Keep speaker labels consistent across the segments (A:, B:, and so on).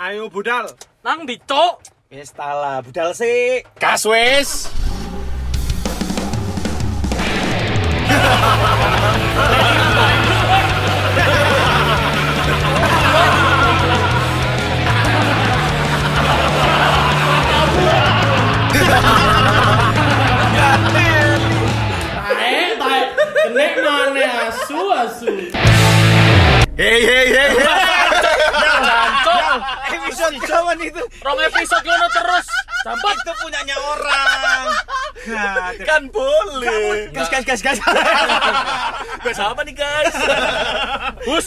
A: Ayo budal.
B: Nang ndi, Cuk?
C: Wis tala, budal sik.
D: Gas wis.
E: Eh, tai. Kene mana asu asu.
D: Hei hei hei. hei.
B: Cuk,
C: Episode kawan itu.
B: rong episode ngono terus. Dampet.
C: Itu punyanya orang.
D: kan boleh.
C: Gas gas gas gas.
D: Gas apa nih, guys?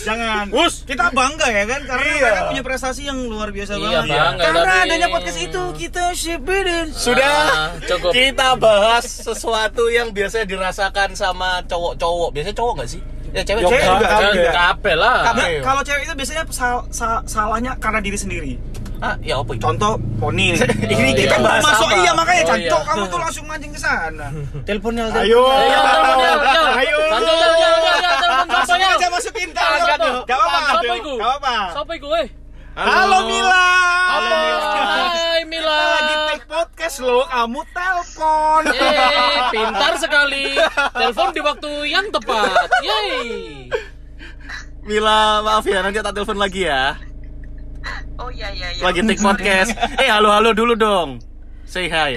A: Jangan.
D: Bus.
C: Kita bangga ya kan karena
D: Iya.
C: mereka punya prestasi yang luar biasa
B: Iya,
C: banget.
B: Bang, nggak
C: Karena
B: tapi-
C: adanya podcast itu kita shibirin.
B: Ah,
D: Sudah.
B: cukup.
D: Kita bahas sesuatu yang biasanya dirasakan sama cowok-cowok. Biasanya cowok nggak sih? Ya cewek
C: Cewek
D: juga.
C: juga.
D: kan?
B: Jangan kabeh lah.
C: Nah,
D: Ayo.
C: kalau cewek itu biasanya sal- sa- salahnya karena diri sendiri.
D: Ah, ya apa itu?
C: Contoh poni.
D: Ini
B: Oh,
D: kita
B: iya.
D: bahas
C: masuk
D: apa?
C: iya makanya
B: Oh,
C: jancok
B: iya.
C: kamu tuh langsung mancing ke sana. Telepon Nel.
A: Ayo.
B: Ayo, telepon, Yel, Yel.
A: Ayo.
B: Telepon, Yel, Yel, Yel, Yel, telepon
C: Langsung
B: siapa, Yel?
C: aja masukin Nel.
B: Agak tuh.
C: Gak apa-apa.
B: Siapa iku?
C: Gak apa-apa.
B: Siapa iku, eh?
A: Halo Mila.
B: Halo, hai Mila.
C: Kita lagi take podcast lo, kamu telepon.
B: Yeay, pintar sekali. Telepon di waktu yang tepat. Yeay.
D: Mila, maaf ya, nanti tak telepon lagi ya.
F: Oh iya iya iya.
D: Lagi take podcast. Eh, halo-halo dulu dong. Say hi.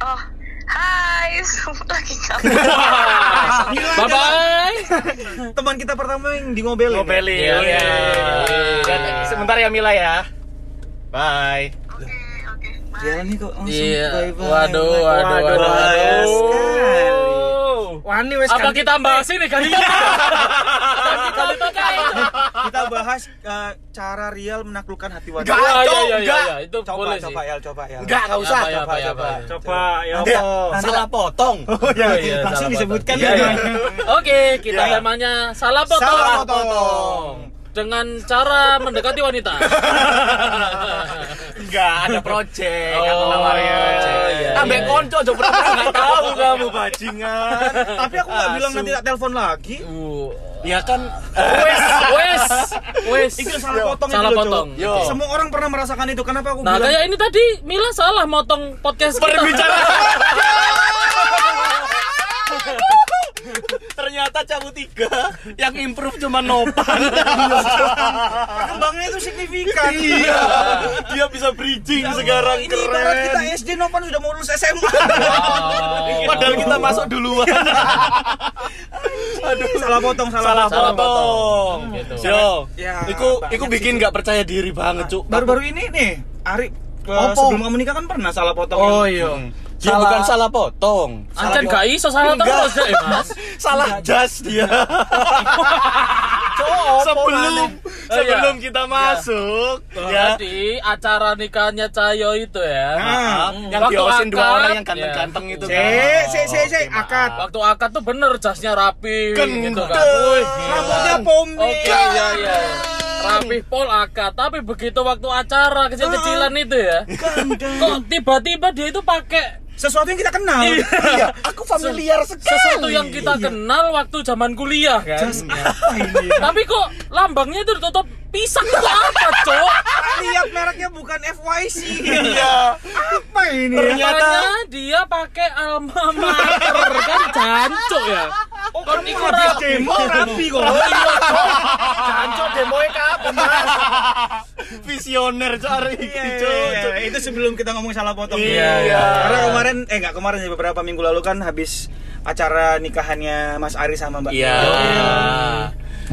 F: Oh. Hai, semua lagi ngapain?
C: Mila
B: Bye
C: adalah
B: bye.
C: Teman kita pertama yang di ya? ngobelin.
D: Ngobelin.
B: Iya.
D: Iya. Dan sebentar ya Mila ya. Bye.
F: Oke, oke. Bye.
C: Dia nih kok langsung
B: Iya.
C: bye-bye.
B: Waduh, waduh, waduh,
C: bahaya
B: waduh.
C: sekali. Wani wes
B: Apa
C: kan-
B: kita bahas ini kali ya? Kita pakai.
C: kita bahas eh, cara real menaklukkan hati wanita.
D: Gak,
B: Iya,
D: cok,
B: iya, iya,
D: enggak.
B: iya, itu
C: Coba,
B: boleh sih.
C: coba ya. El, coba El.
D: Enggak, enggak usah.
B: Apa, ya,
C: coba,
B: apa, ya, apa,
C: coba.
B: ya.
A: Coba ya
D: Dia
A: apa?
D: salah potong.
C: Oh ya,
B: iya,
C: langsung
B: salah
C: disebutkan
D: Iya,
C: ya.
D: iya.
B: Oke, kita temanya
C: Salah
B: salah potong
C: potong.
B: dengan cara mendekati wanita.
D: Enggak, ada project
B: Oh,
D: aku nawarin project. Nah,
B: iya,
D: Ambek
B: iya.
D: konco aja pura-pura enggak tahu kamu bajingan.
C: Tapi aku nggak bilang nanti tak telepon lagi.
B: Uh,
D: Ya kan
B: Wes, wes, wes.
C: Itu salah potong itu
B: Salah
C: loh,
B: potong.
C: Cok.
D: Yo.
C: Semua orang pernah merasakan itu. Kenapa aku
B: Nah,
C: bilang?
B: kayak ini tadi Mila salah motong podcast kita.
D: berbicara. Ternyata cabut tiga yang improve cuma nopan.
C: Perkembangannya itu signifikan.
D: iya, dia bisa bridging
C: Ya
D: sekarang
C: Ini ibarat
D: keren.
C: kita SD Nopan sudah mau lulus SMA.
B: Wow.
D: Padahal kita masuk duluan.
C: Aduh, salah potong, salah,
D: Salah
C: potong.
D: potong. Hmm.
B: Gitu.
D: Yo,
C: Ya,
D: iku
C: banget
D: iku bikin nggak percaya diri banget, Cuk.
C: Baru-baru ini nih, Ari ke
D: Apa?
C: sebelum kamu nikah kan pernah salah potong.
D: Oh iya. Dia
C: Salah-
D: bukan salah potong. Iya.
B: Ancan gak iso salah terus deh, Mas.
D: salah jas dia. sebelum
B: Oh, iya.
D: sebelum kita masuk ya.
B: Jadi acara nikahnya Cayo itu ya.
C: Nah,
B: Hmm.
D: Ah, Yang
B: Waktu
D: diosin dua
B: akad,
D: orang yang
B: ya.
D: ganteng-ganteng itu kan.
C: Cek, cek, cek, cek, akad.
B: Waktu akad tuh bener jasnya rapi gitu kan.
D: Kenteng.
B: Wih,
C: Rambutnya
B: gila.
C: pomade.
B: Oke, iya iya. Rapi pol akad, tapi begitu waktu acara kecil-kecilan itu ya. Kok tiba-tiba dia itu pakai
C: Sesuatu yang kita kenal.
D: Iya, aku familiar sekali. Iya.
B: sesuatu yang kita kenal waktu zaman kuliah kan.
C: Jas apa ini?
B: Tapi kok lambangnya itu ditutup pisang itu apa, Cok?
C: Lihat mereknya bukan FYC.
D: Iya.
C: apa ini? ya?
D: Ternyata
B: Makanya dia pakai alma mater kan jancok ya.
C: Oh,
B: Kon
C: kamu
B: iku
C: habis
B: rapi.
C: demo rapi kok.
D: Jancok demoe kapan, Mas? Visioner cari
C: Iya,
D: iki,
C: iya,
D: Cuk.
C: iya. itu sebelum kita ngomong salah potong.
D: Iya, iya.
C: Karena kemarin eh nggak kemarin sih beberapa minggu lalu kan habis acara nikahannya Mas Ari sama Mbak.
D: Iya.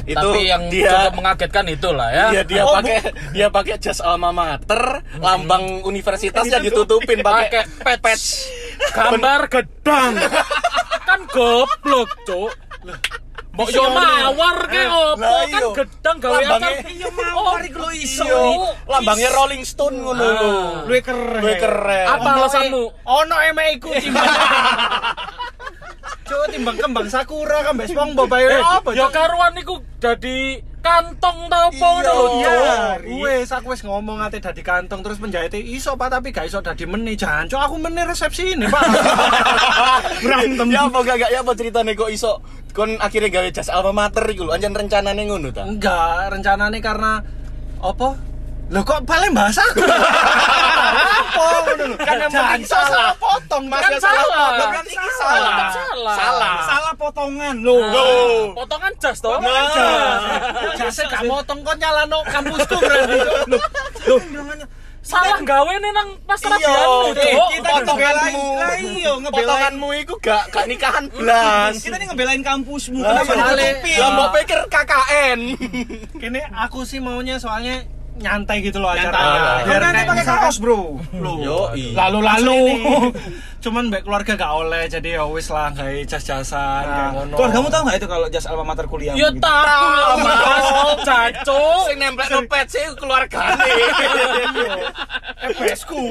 D: Itu
B: Tapi yang
D: dia
B: cukup mengagetkan itulah ya.
D: Iya dia
C: Oh,
D: pakai dia pakai jas alma mater, lambang universitasnya ditutupin
B: Hmm. pakai
D: pakai
B: pets gambar gedang kan goblok cuk Mbok yo mawar ke opo
D: Iya, Eh, Lah,
B: kan
D: iyo.
B: gedang gawe akar Oh, iya.
D: Lambangnya-
C: Iya, mawar iku lho iso.
D: Iyo, lambangnya Rolling Stone ngono lho.
C: Lu keren.
D: Gue keren.
B: Ah. apa alasanmu
E: Ono eme iku timbang.
C: Coba timbang kembang sakura kan mbak SpongeBob
D: Eh,
C: ayo apa?
B: ya karuan iku dadi kantong ta opo
D: Iyo.
B: ngono lho
C: Iya.
B: cuk
E: Wes aku Oh, wis ngomong ate dadi kantong terus penjahite iso Pak tapi gak iso dadi meni jancuk aku meni resepsi ini Pak.
D: berantem. Ya apa gak gak ya apa ceritane kok iso kon akhirnya gawe
B: Nah,
D: jas alma mater iku lho. Anjen rencanane ngono ta.
E: Enggak, rencananya karena apa? Loh kok paling bahas aku? Apa ngono lho?
D: Kan yang penting
E: Jangan salah
D: salah.
E: potong Mas.
D: Kan
E: Ya,
D: salah.
E: potong.
D: Kan
E: Kan
D: salah.
E: salah.
B: Salah.
D: Salah.
C: Salah potongan loh.
D: Loh.
B: Potongan jas toh?
D: Potongan jas.
E: Jasa gak motong kok nyalano kampusku berarti. Loh,
C: Loh, bilangannya.
B: Salah gawe nih nang pas
D: Iya,
B: rabianmu,
D: eh,
B: Cuk.
C: Potonganmu.
D: kita potonganmu.
C: Lah iya ngebelain.
D: Potonganmu itu gak gak nikahan belas.
C: Kita nih ngebelain kampusmu.
D: Lah
C: Kenapa
E: soalnya-
C: ditutupi?
D: Lah mau pikir KKN.
E: Kini aku sih maunya soalnya nyantai gitu loh
D: Nyantai.
E: acaranya.
C: Kan nanti
E: kayak
C: pakai
E: misalkan-
C: kaos, Bro. iya.
E: Loh,
D: Yoi.
E: Lalu-lalu. Cuman baik keluarga gak oleh jadi ya wis lah gawe jas-jasan
C: Nah,
E: kayak Ah, ngono.
C: Keluargamu tahu nggak itu kalau jas alma mater kuliah?
B: Ya tahu lah Mas, Oh, cacuk.
D: Sing nemplek dompet sih keluargane.
E: pesku.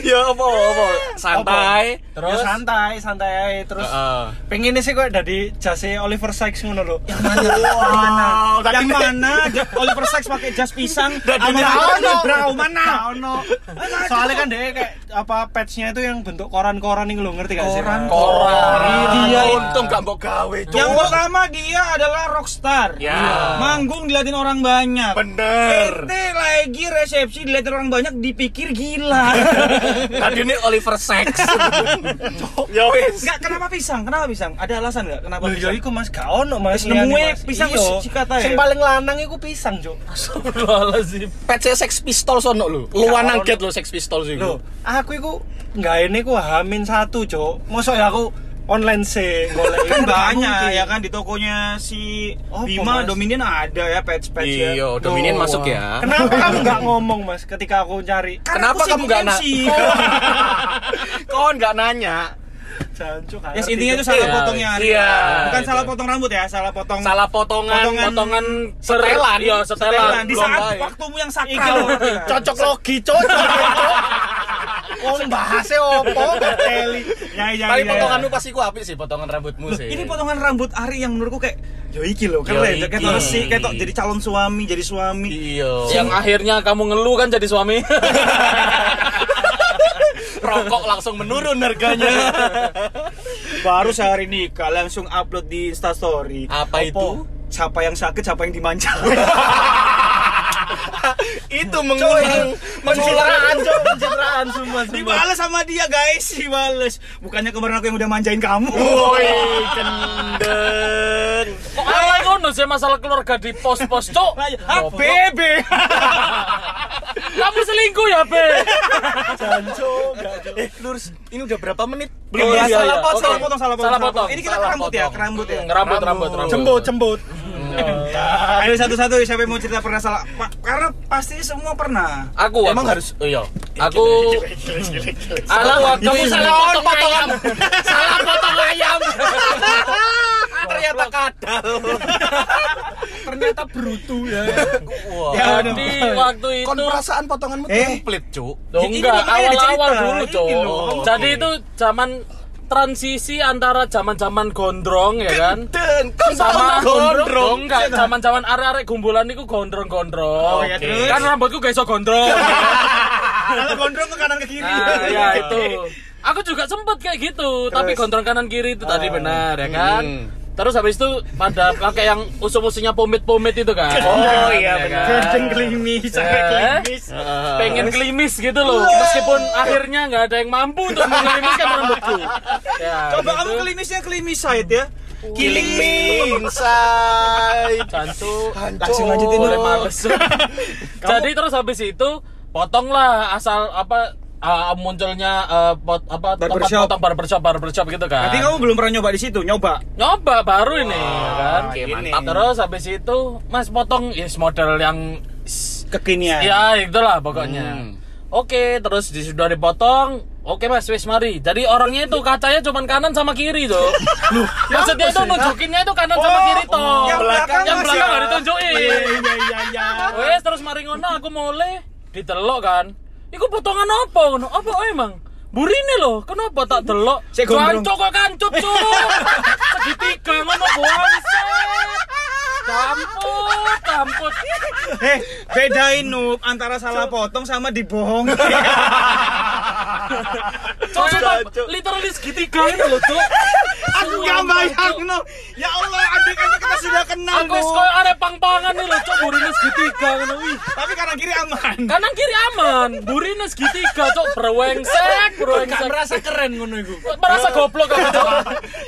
D: Ya apa apa santai.
E: Terus Ya santai, santai aja terus.
D: Heeh.
E: Pengennya sih kok dari jasa Oliver Sykes ngono lho.
C: Yang Nah. Ya, mana? Yang mana?
D: Wow, tadi
C: Yang mana? Ja- Oliver Sykes pakai jas pisang.
D: Dan
C: Alma
D: dia
C: mater
E: ono.
C: Brau mana?
E: Gak ono. Soalnya kan dia kayak apa patchnya itu yang bentuk koran-koran nih lo ngerti gak sih?
C: Koran.
D: Koran.
E: Iya.
D: untung gak mau gawe. Cuk.
C: Yang pertama dia adalah rockstar.
D: Ya.
C: Manggung diliatin orang banyak.
D: bener.
C: RT lagi resepsi diliatin orang banyak dipikir gila.
D: Tadi ini Oliver Sacks. ya wis.
C: Enggak, kenapa pisang? Kenapa pisang? Ada alasan enggak kenapa
E: Lho ya
C: pisang?
E: iku Mas gak ono Mas.
C: Wis nemu e
E: Liyane, Mas.
C: pisang
E: Iya.
C: wis sikat ae.
E: Sing paling lanang iku pisang, Cuk.
B: Astagfirullahalazim.
D: PC Sex Pistol sono lho. Luan nangget lho Sex Pistol sih.
E: Lho, ah, aku iku nggak ini ku hamin satu, Cuk. Mosok ya aku online sih golek
C: Kan
E: Nggak
C: banyak
E: mungkin.
C: ya kan di tokonya si
E: Apa,
C: Bima
E: Mas?
C: Dominion ada ya patch-patch ya.
D: Iya, Dominion masuk ya.
E: Kenapa kamu nggak ngomong, Mas, ketika aku cari?
C: Kan
D: Kenapa
C: aku
D: kamu
C: sibuk
D: nggak na-
C: MC.
D: Kon nggak nanya.
E: Jancuk.
C: Ya intinya itu salah
D: Iya,
C: potongnya Ari.
D: iya.
C: Bukan
D: Iya.
C: salah potong rambut ya, salah potong
D: Salah potongan,
C: Potongan-
D: potongan
B: Setelan.
D: setelan.
B: Iya, setelan.
C: di
D: belum
C: saat
D: baik.
C: waktumu yang
E: Iki
C: sakral. Iya,
E: lho,
D: Iya. Cocok logi, cocok.
E: Wong bahasnya
C: iya,
E: opo, Mbak Teli. Ya ya.
D: Tapi
E: ya, ya.
D: potonganmu pasti ku apik sih, potongan rambutmu sih.
C: Ini potongan rambut Ari yang menurutku kayak yo iki lho,
D: Yo
C: keren.
D: iki.
C: Kayak resik, kayak tok jadi calon suami, jadi suami.
D: Iya.
B: Yang akhirnya kamu ngeluh kan jadi suami.
D: rokok langsung menurun harganya.
C: Baru sehari nikah langsung upload di Instastory.
D: Apa itu?
C: Siapa yang sakit, siapa yang dimanja.
D: itu mengulang
E: pencitraan, Cuk, pencitraan semua. semua.
C: Dibales sama dia guys, dibales. Bukannya kemarin aku yang udah manjain kamu.
D: Woi, kendeng.
B: Kok ala ngono sih masalah keluarga di pos-pos, Cuk?
D: iya.
C: Ah, bebe.
B: Kamu selingkuh ya, Be?
D: Eh, lurus. Ini udah berapa menit?
C: Belum
B: iya,
C: ya,
B: iya.
C: salah potong,
B: Oke.
C: salah potong, salah potong.
B: Salah potong.
C: Ini kita
D: Salah
C: kerambut ya,
D: potong.
C: kerambut ya.
B: Rambut, rambut, rambut.
E: Cembut, cembut.
C: Ayo satu-satu siapa yang mau cerita pernah salah? Ma- karena pasti semua pernah.
B: Aku
D: Emang
B: aku.
D: harus iya.
B: aku salah waktu
D: Kamu salah potong potongan.
B: salah potong ayam
D: Ternyata kadal.
E: Ternyata brutu ya.
D: Wah.
C: Ya,
B: jadi waktu
D: Kon
B: itu
D: perasaan potonganmu
C: Eh.
D: template, Cuk.
B: Loh,
C: Ini
B: enggak
C: makanya
B: awal-awal
C: diceritain,
B: dulu
C: ini
B: Cok.
C: loh.
B: jadi itu zaman transisi antara zaman-zaman gondrong ya kan
D: Dan kon
B: sama
D: gondrong.
B: gondrong Oh, enggak zaman-zaman arek-arek gombolan niku
C: Oh,
B: gondrong-gondrong.
C: ya,
B: Oke.
C: terus?
B: Kan rambutku gak iso gondrong.
C: Kalau gondrong ke kanan ke kiri.
B: Nah, ya itu. Aku juga sempet kayak gitu, tapi gondrong kanan kiri itu tadi benar ya kan.
D: Hmm.
B: Terus habis itu pada pakai yang usum-usumnya pomit-pomit itu kan.
D: Oh, iya, benar.
B: kan?
C: Gendeng klimis, sampai
B: Eh.
C: klimis.
B: Pengen klimis gitu loh. Meskipun akhirnya nggak ada yang mampu untuk mengklimiskan rambutku. Ya,
C: Coba
B: gitu.
C: kamu klimisnya klimis side ya.
D: Killing me inside.
B: Cantu,
D: Langsung lanjutin
B: boleh
D: dulu.
B: males. Jadi terus habis itu potonglah asal apa uh, munculnya uh, pot, apa
C: Barbershop.
B: tempat potong barbershop barbershop gitu kan.
C: Tapi kamu belum pernah nyoba di situ, nyoba.
B: nyoba baru ini ya kan.
D: oke,
B: Ini.
D: mantap.
B: Terus habis itu Mas potong yes model yang
C: Kekinian.
B: ya itulah pokoknya.
D: Hmm.
B: Oke, terus di- sudah dipotong. Oke mas, wis mari. Jadi orangnya itu kacanya cuma kanan sama kiri tuh. Maksudnya itu nunjukinnya itu kanan sama kiri toh.
C: yang belakang
B: yang
C: masih-
B: belakang nggak ditunjukin.
E: Iya iya iya.
B: Wes terus mari ngono aku mulai ditelok kan. Iku potongan apa ngono? Apa oh, emang? Burine lho, kenapa tak delok?
C: Cek gondrong.
B: Jancuk kok kancut, Cuk. Segitiga ngono bangset. Kamput, kamput.
C: Eh, bedain Nup antara salah potong sama dibohong.
B: Cuk, sumpah, literally segitiga ini lho, Cuk.
C: Aku nggak
B: Sumpah, Cuk.
C: bayang, Nup. Ya Allah, adik adik kita sudah kenal,
B: Aku wis
C: Bu.
B: koyo arek pang-pangan nih lho, cok burine segitiga ngono wih.
C: Tapi kanan kiri aman.
B: Kanan kiri aman, burine segitiga cok brewengsek, brewengsek.
E: merasa keren ngono iku.
B: Kok Merasa goblok kamu cok.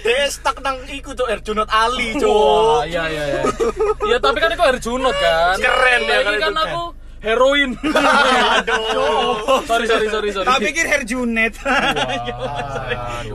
D: Dia Eh, stuck nang iku tuh Erjunot
B: Wah,
D: Ali, cuk.
B: iya iya iya. Ya tapi kan itu Herjunot kan.
D: Keren ya,
B: Lah,
D: keren
B: ini kan
D: itu,
B: aku heroin. Aduh. Sorry sorry sorry sorry.
C: Tak pikir Herjunet. Ya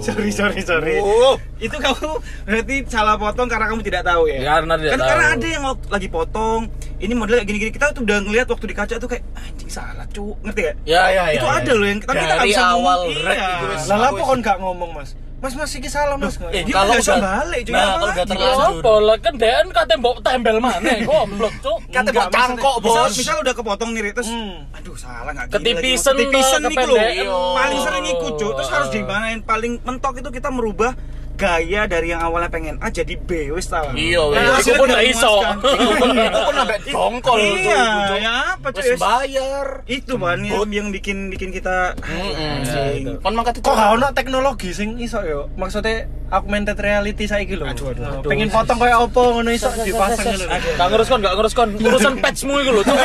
C: sorry sorry sorry.
D: Oh,
C: Itu kamu berarti salah potong karena kamu tidak tahu ya.
B: Ya, karena tidak
C: kan
B: tahu.
C: karena ada yang waktu lagi potong, ini model kayak gini-gini. Kita tuh udah ngelihat waktu di kaca tuh kayak anjing salah, Cuk. Ngerti gak?
D: ya ya ya.
C: itu
D: ya.
C: ada loh yang tapi kita nggak
D: Dari
C: bisa
D: awal
C: ngomong.
D: rek
C: Iya.
D: itu wes.
E: Lah lah kok kon gak ngomong, Mas? Mas Mas iki salah, Mas.
D: Eh,
C: Dia
D: kalau
C: nggak bisa
D: udah
C: balik, cuy.
D: Nah,
C: Apa
D: kalau udah
C: lagi?
D: terlanjur.
B: Apa lah kan dean kate mbok tembel maneh goblok cok.
D: Kata
E: Enggak,
D: bok cangkok,
C: Misal,
D: Bos.
C: misal udah kepotong nih, Rik, terus
E: Hmm.
C: aduh salah nggak gini
B: Ketipisan,
C: lagi. Ketipisan
B: Mbak,
C: nih loh.
D: Iya.
B: kependekan.
C: Paling sering ikut, Cuk. Terus harus dimanain paling mentok itu kita merubah gaya dari yang awalnya pengen A jadi B wis tau.
D: Iya, wes.
C: Nah,
B: Iku
C: hasilnya
B: pun
C: tidak
B: nggak iso.
C: memuaskan.
D: Itu pun sampai dongkol tuh,
C: Iya,
D: Cuk.
C: ya apa cuy?
D: Wes bayar.
C: Itu bahan yang, yang bikin bikin kita anjing.
D: Kan mangkat itu.
E: Kok gak ono teknologi sing iso yo? Maksudnya augmented reality saiki lho.
C: Aduh, aduh, aduh.
E: Pengen potong koyo apa ngono iso dipasang ngono. lho.
B: Gak ngurus kon, gak ngurus kon. Urusan patchmu iku lho, Cuk.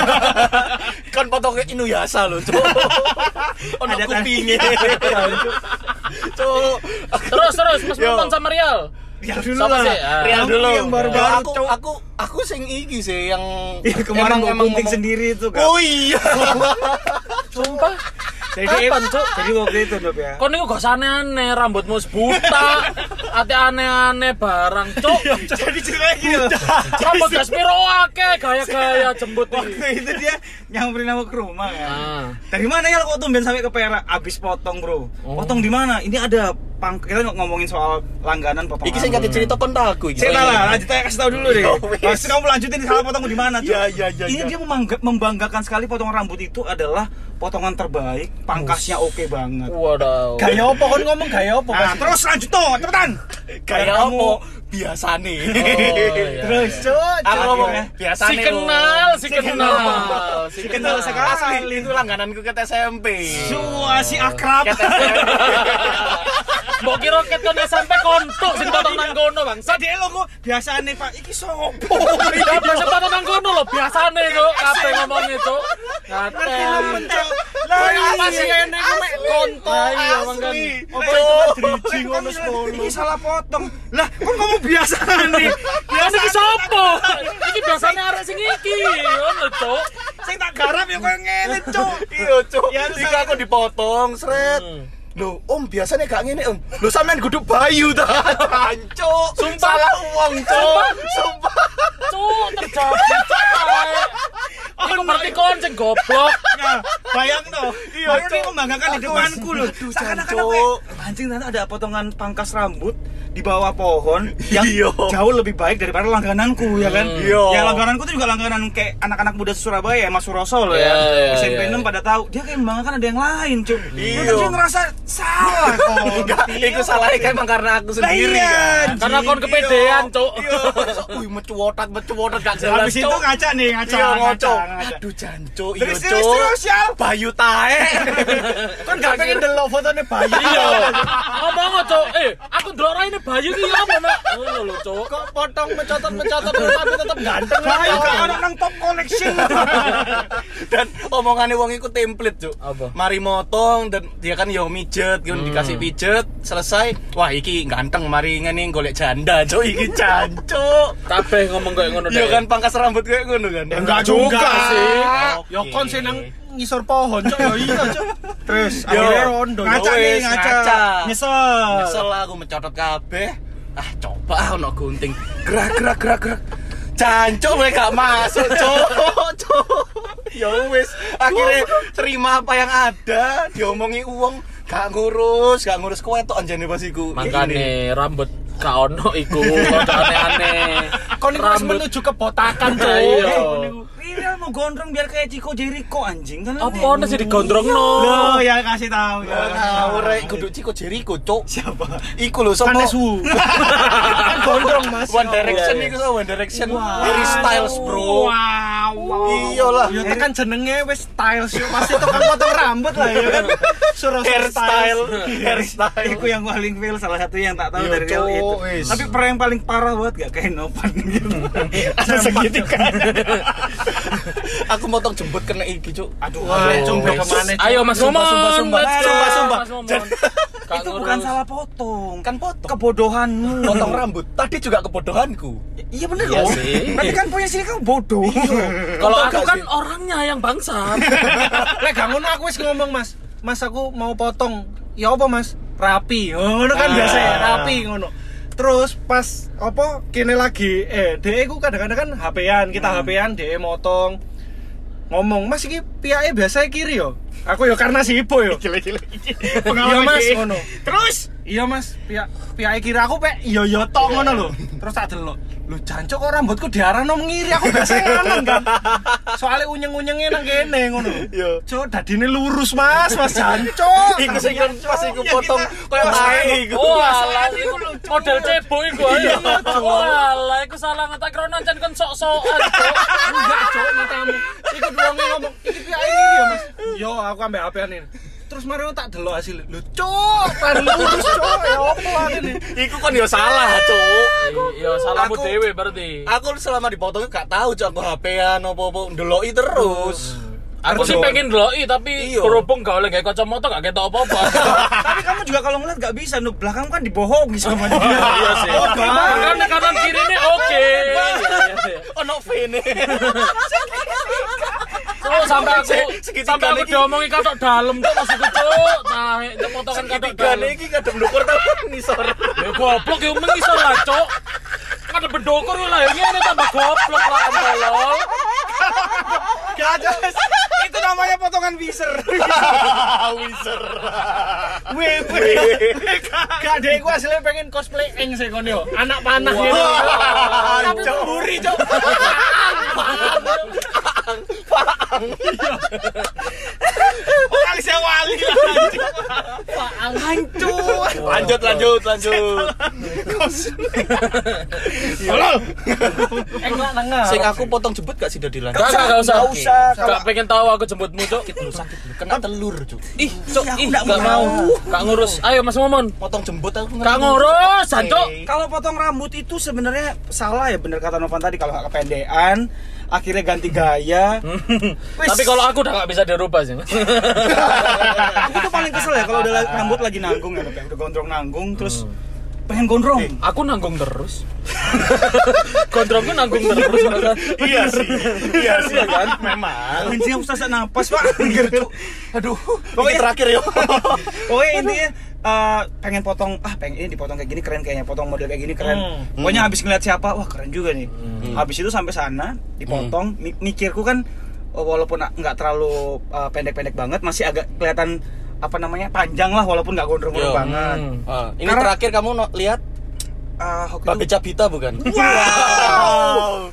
D: kan potongnya Inuyasha loh, Cuk. Ono
C: Ada
D: kupingnya. Cuk.
B: Terus terus Mas
D: Yo.
B: Mumpon sama Rial.
C: Ya dulu
B: Sama
C: lah.
B: sih, ah.
C: Real dulu. Yang baru-baru
D: aku,
C: Cuk.
D: aku aku sing iki sih yang
C: Iya, kemarin
D: emang-
C: gue
D: emang
C: gunting
D: ngomong-
C: sendiri itu kan.
D: Oh iya.
B: Sumpah.
C: jadi
B: kapan, Cuk?
C: Jadi waktu itu Nob ya.
B: Kon niku gak aneh-aneh, rambutmu sebuta, ate aneh-aneh barang, Cuk.
C: Jadi ceritanya gini loh.
B: Rambut gak spiro akeh, gaya-gaya jembut
C: Waktu
B: iki.
C: itu dia nyamperin aku ke rumah ya.
B: Ah.
C: Dari mana ya kok tumben sampai ke Perak abis potong, Bro?
D: Oh.
C: Potong di mana? Ini ada pang kita ngomongin soal langganan potongan.
D: Iki sing kate cerita kontakku iki.
C: Cerita lah, lanjut aja kasih tahu dulu deh.
D: Yo, wis.
C: Pasti kamu lanjutin salah potong di mana, Cuk?
D: Iya, iya, iya,
C: Ini
D: iya.
C: dia memangga- membanggakan sekali potongan rambut itu adalah potongan terbaik, pangkasnya oke banget.
B: Waduh.
E: Gaya apa kon ngomong gaya apa?
C: Nah, terus lanjut tuh, cepetan.
D: Kayak
C: Kamu- Oh,
D: apa biasane.
E: Terus, Cuk.
C: iya.
D: Aku ngomong
C: Akhirnya.
D: biasane.
B: Si kenal, si kenal. Si
C: Si kenal sekali.
D: Asli itu langgananku ke SMP.
C: Wah, si akrab.
B: Mbok kira ket kon SMP kontok sing potong nang kono, Bang.
C: Saya dia Iya, lo kok biasanya Pak, iki sopo.
B: Ya biasa potong nang kono lho, biasane kok kabeh ngomongnya, Cuk. Ngaten.
C: Lah
B: Apa sih
C: iya.
B: ngene ku mek kontok
D: Lah iya,
B: asli.
D: makanya.
C: Apa itu kan driji ngono sepuluh. Iki salah potong. Lah, kok ngomong biasane?
B: Biasa iki sopo? Iki biasane arek sing iki. Ngono, Cuk.
C: Sing tak garap ya koyo ngene, Cuk.
D: Iya, Cuk.
C: Ya, Hmm. terus
D: Iki aku dipotong, sret. Loh, Om biasanya gak ngene, Om. Loh, sampean guduk bayu ta. Cuk.
B: Sumpah.
D: Salah uang, Cuk. Sumpah.
B: Cuk, terjadi, Cuk. Arek. Iku berarti kon sing goblok.
C: Nah, bayang no. Iya,
D: Cuk.
C: ini membanggakan di
D: Aku
C: depanku loh.
D: aduh,
C: Seakan-akan aku
D: Cuk.
C: kayak, anjing ternyata ada potongan pangkas rambut di bawah pohon yang
D: Iya.
C: jauh lebih baik daripada langgananku ya kan.
D: Iya.
C: Ya langgananku tuh juga langganan kayak anak-anak muda Surabaya ya Mas Suroso loh
B: Iya, iya,
C: ya. SMP
B: iya.
C: 6 pada tahu dia kayak membanggakan ada yang lain, Cuk.
D: Iya.
C: Terus Dia ngerasa salah kok.
D: Enggak, itu salahnya kan emang karena aku
C: Nah,
D: sendiri.
C: iya,
D: kan.
C: anjing.
B: Karena kon kepedean, Cuk.
D: Iya, wih mecuotat, mecuotat gak jelas.
C: Habis itu
D: Cuk.
C: ngaca nih, ngaca,
D: Iya,
C: ngaca,
D: ngoco.
C: ngaca.
D: Aduh, jancuk. Iya,
C: Terus terus
D: Cuk.
C: terus ya.
D: Bayu tae.
E: Kan gak pengen delok fotone bayi.
B: Iya. Ngomong kok, Cuk. Eh, aku ndelok ra ini Bayu iki apa, Mak? Ngono lho, Cuk.
E: Kok potong mecotot-mecotot tapi tetep ganteng.
C: Ayo ke anak nang top collection.
D: Dan omongannya wong iku template, Cuk.
B: Apa?
D: Mari motong dan dia kan yo mijet, kan dikasih pijet, selesai. Wah, iki ganteng, mari ngene golek janda, Cuk. Iki jancuk.
B: Kabeh ngomong kayak ngono
D: Iya
B: deh.
D: kan pangkas rambut kayak ngono kan.
E: Enggak juga sih.
D: Oke.
E: Yo kon sih nang ngisor pohon, Cuk. Yo iya, Cuk.
C: Terus
D: Yo,
C: akhirnya
E: rondo,
C: ngaca
D: yo
C: nih,
D: wes,
C: ngaca.
D: ngaca.
C: Nyesel.
D: Kesel aku mencotot kabeh. Ah, coba ah ono gunting. Gerak gerak gerak gerak. Jancuk gue gak masuk, cok, cok. Ya wis, akhirnya terima apa yang ada, diomongi uang, gak ngurus, gak ngurus kowe tok anjane pas iku.
B: Makane rambut gak ono iku, kok aneh-aneh.
E: Kon iku wis
B: Rambut-
D: Eh.
E: menuju kebotakan, Cuk.
B: Iya.
C: Ini mau lu gondrong biar kayak Chico Jericho anjing kan
B: Apa ono sih digondrongno?
C: Lo ya kasih tahu ya. kasih
D: Nah,
C: tahu.
D: rek kudu Ciko Jericho, cuk.
C: siapa?
D: Iku lho sapa? Ah,
C: Panesu.
E: kan gondrong mas
D: One Direction
B: Iya, iya.
D: iku sapa? One Direction. Harry Styles, Bro.
E: wow, Ya,
D: Iya lah.
E: Yo tekan jenenge wis styles yo masih tukang potong rambut lah ya kan. Suruh
D: Hairstyle, hairstyle.
C: Iku yang paling fail salah satu yang tak tahu
D: Iya,
C: dari Leo
D: cowok,
C: itu.
D: wis.
C: Tapi pernah yang paling parah buat gak kayak Novan gitu.
D: Ada segitiga. Aku motong jembut kena iki, cuk.
C: Aduh,
E: Wah,
C: aduh.
E: coba kemana?
B: Ayo Mas Momon.
D: Sumpah, sumpah, sumpah.
B: let's go,
D: Sumpah, sumpah.
B: Mas Momon. Gak
C: itu bukan
B: ngurus.
C: salah potong.
D: Kan potong.
C: kebodohanmu.
D: Potong rambut. Tadi juga kebodohanku.
C: Iya bener
B: Iya
C: dong.
B: sih. Iya,
C: Berarti kan punya sini kamu bodoh.
B: Kalau
D: Potong
B: aku
D: gak
B: kan
D: sih?
B: orangnya yang bangsat.
E: Lek gak ngono aku wis ngomong mas. Mas aku mau potong. Ya apa mas? Rapi. Oh, Ngono kan biasa ya rapi ngono. Terus pas apa kene lagi eh DE ku kadang-kadang kan HP-an, kita HP-an DE motong. Ngomong, "Mas iki piyake biasa kiri yo." Aku yo karena sibuk yo. Iya mas, ngono. Terus? Iya mas, pihak pihak kiri aku pek iya iya tok ngono lho. Terus tak delok. Lho jancuk kok rambutku diarahno ngiri aku biasa kanan kan. Soale unyeng-unyenge nang kene ngono. Iya. Cuk, dadine lurus mas, mas jancuk.
D: Iku sing pas iku
C: iya,
D: potong
C: kita-
D: koyo ae
C: Iya,
D: iku.
C: Oh,
B: Walah, iku model cebok iku ayo. Walah, iku salah ngetak krono jan kon sok-sokan. Cuk.
E: Enggak, cowok matamu. Iku doangnya ngomong, iki pihak kiri ya mas. Yo, aku ambek HP-an ini. Terus mari tak delok hasil. Lho cuk, padahal lurus cuk. Ya opo ini?
D: Iku kan yo salah, cuk.
B: Iya, salahmu
D: Aku-
B: dhewe berarti.
D: Aku selama dipotongnya gak tahu cuk aku HP-an opo-opo ndeloki terus.
C: Hmm.
B: Aku sih
D: ndelok.
B: pengen ndeloki tapi
D: Iya.
B: berhubung gak oleh gak kacamata gak ketok apa-apa.
C: Tapi kamu juga kalau ngeliat gak bisa, Nuh. belakang kan dibohongi sama dia.
B: Iya sih. Karena kanan kiri ini oke.
D: Ono vene.
B: Oh, sampai aku
D: Segitiga
B: sampai aku
D: ini.
B: diomongi katok dalam tuh maksudku cuk. Nah, itu potongan katok
D: Segitiga
B: dalam.
D: iki kadang ndukur tangan nisor.
B: Ya goblok ya mengi salah cuk. Kan ada bedokor ya lah, ya ngene tambah goblok lah tolong.
C: itu namanya potongan viser.
D: Wiser.
E: Gak ada iku hasilnya pengen cosplay eng sih kon yo. Anak panah gitu.
D: Tapi buri cuk.
C: Orang saya wali.
D: Lanjut lanjut lanjut.
E: Eng lah tengah.
D: Sing aku potong jebut gak sih dari lanjut.
B: Gak usah, gak usah.
C: Gak usah.
B: Gak pengen tahu aku jemputmu cuk.
D: Lu sakit lu kena telur cuk.
B: Ih, cuk,
C: Iya, aku
B: ih,
C: nggak
B: gak
C: mau.
B: mau. Gak ngurus. Ayo Mas Momon.
D: Potong jembut aku
B: Gak ngurus, cuk.
C: Kalau potong rambut itu sebenarnya salah ya bener kata Novan tadi kalau nggak kependean akhirnya ganti gaya. Wis.
B: Tapi kalau aku udah gak bisa dirubah sih.
C: aku tuh paling kesel ya kalau udah la- rambut lagi nanggung ya, kayak udah gondrong nanggung terus
B: Hmm.
C: pengen gondrong.
B: Aku nanggung terus. Kontrolku nanggung terus. Mas.
D: Iya sih. Iya sih kan memang.
C: Anjing aku sesak napas, Pak. Gitu.
D: Aduh, ini
C: Pokoknya-
D: terakhir yo.
C: Pokoknya intinya eh, pengen potong ah pengen ini dipotong kayak gini keren kayaknya potong model kayak gini keren. Pokoknya habis ngeliat siapa wah keren juga nih. Habis itu sampai sana dipotong mi- mikirku kan oh, walaupun a- nggak terlalu eh, pendek-pendek banget masih agak kelihatan apa namanya panjang lah walaupun nggak gondrong-gondrong
D: Yo.
C: banget.
B: Hmm.
D: Ah, ini
C: Karena-
D: terakhir kamu no- lihat
C: Ah, hoki itu-
D: Babe Cabita bukan?
C: Wow.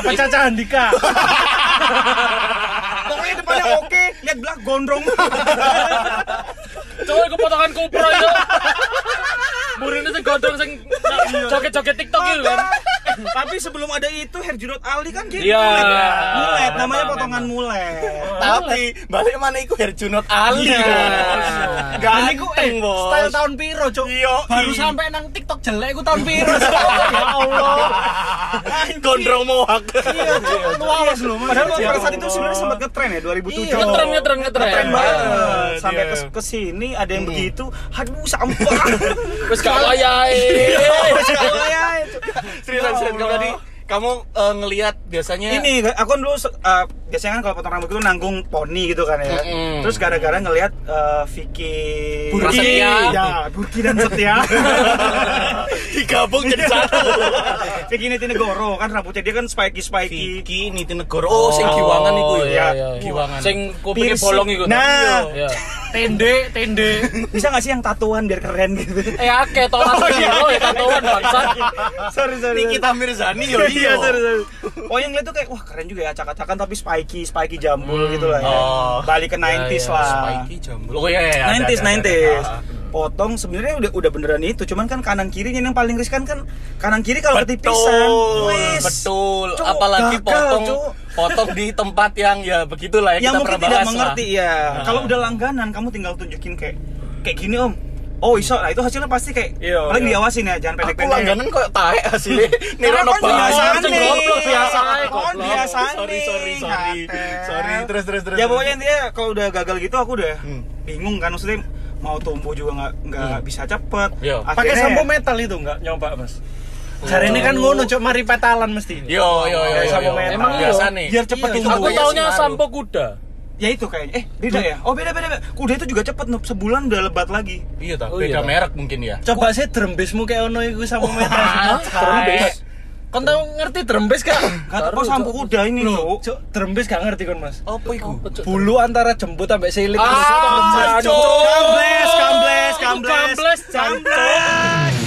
E: Apa Caca Handika?
C: Pokoknya depannya oke, lihat belah gondrong.
B: Cuk, aku potongan kupro itu. Burine sing godong sing joget-joget TikTok itu kan.
C: Tapi sebelum ada itu Herjunot Ali kan jadi
B: Iya.
C: mulet. Mulet, namanya
B: Memang,
C: potongan mulet.
D: Tapi balik mana iku Herjunot Ali.
B: Iya.
D: Gak
E: Dan
D: iku
E: iku eh
D: bos.
E: style tahun piro, Cuk.
D: Iya.
E: Baru sampai nang TikTok jelek iku tahun piro. Cuk. ya Allah.
D: gondrong mohak.
E: Iya, Cuk. Aku awas lho, Mas.
C: Padahal
E: Ya
D: Iya,
C: pada saat itu
E: Allah.
C: sebenarnya sempat ngetren ya 2007.
E: Iya.
B: Ngetren ngetren ngetren.
C: Ngetren banget.
D: Iya.
C: Sampai
D: Iya.
C: ke ke sini ada yang begitu, aduh sampah. Iya,
B: Wis gak wayahe.
D: Iya,
C: Ya
D: Seriusan seriusan kamu tadi kamu eh, ngelihat biasanya
C: Ini aku kan dulu se- uh, biasanya kan kalau potong rambut itu nanggung poni gitu kan ya.
D: Mm-mm.
C: Terus gara-gara ngelihat eh, Vicky
D: Burki.
C: Prasetya. ya Burki dan Setia.
D: digabung
C: Iya.
D: jadi satu
C: Vicky Nitinegoro kan rambutnya dia kan spiky spiky.
D: Vicky Nitinegoro oh sing giwangan iku ya
B: iya,
C: ya.
B: iya.
D: Giwangan.
B: Sing kupingnya
C: Piercing.
B: bolong iku.
C: Nah.
B: Iya.
E: tende tende
C: Bisa nggak sih yang tatuan biar keren gitu?
B: Eh akeh to
D: Oh,
B: mas Oh, Giro ya tatoan bangsa.
C: sorry sorry. sorry.
D: Nikita Mirzani yo
C: Iya,
D: iya
C: sorry, sorry. Oh yang ngeliat tuh kayak wah keren juga ya acak-acakan tapi spiky spiky jambul gitu lah ya.
D: Oh.
C: Balik ke 90s
B: iya.
C: lah.
D: Spiky jambul oh iya iya ada,
C: 90s
D: ada, Ah. ada,
C: 90s.
D: ada.
C: Potong sebenarnya udah udah beneran itu, cuman kan kanan kirinya yang paling riskan kan kanan kiri kalau ketipisan.
D: betul
C: Wes.
D: betul
C: Cuk,
D: apalagi
C: gagal,
D: potong
C: Cuk.
D: potong di tempat yang ya begitulah
C: Yang
D: ya kita
C: mungkin
D: pernah
C: tidak
D: bahas lah.
C: mengerti ya.
D: Nah.
C: Kalau udah langganan kamu tinggal tunjukin kayak kayak gini, Om. Oh, iso. Nah, itu hasilnya pasti kayak
D: Iya,
C: paling
D: iya.
C: diawasin ya, jangan
D: Aku
C: pendek-pendek.
D: langganan kok tae hasilnya Nirono
C: Kan biasaan
B: Ceng,
C: nih.
B: goblok, biasaan,
C: Kan
B: goblok.
C: biasaan
D: Sorry,
C: nih.
D: sorry, sorry.
C: Gatel.
D: Sorry, terus, terus, terus,
C: Eh. Ya
D: terus.
C: pokoknya intinya kalau udah gagal gitu aku udah
D: Hmm.
C: bingung kan maksudnya mau tumbuh juga nggak nggak bisa cepet.
D: Iya.
E: Hmm. pakai
C: Akhirnya-
E: sampo metal itu nggak nyoba mas hari ini kan ngono cok mari petalan mesti
D: Yo yo yo.
C: Kayak
D: yo,
C: sampo
D: yo.
C: metal.
D: Emang biasa nih.
C: Biar cepet
E: Iya,
C: tumbuh.
B: Aku
D: Iya,
B: taunya
D: sih,
B: sampo kuda.
C: Ya itu kayaknya. Eh, beda ya? Oh, beda beda. beda. Kuda itu juga cepet Nup. sebulan udah lebat lagi.
D: Iya
B: Oh,
D: tak,
B: iya,
D: beda
B: tak.
D: merek mungkin ya.
E: coba sih drembesmu kayak ono iku sampo metal
B: Terus.
E: kon tau ngerti drembes gak
C: Enggak tahu sampo kuda ini,
E: Loh,
C: Cuk.
E: cok drembes gak ngerti kon mas
D: Apa iku?
E: bulu antara jembut sampai silik
B: Ah, cok.
E: Cok,
C: Kambles, kambles,
B: Itu
C: kambles.
B: Kambles,
C: Kambles.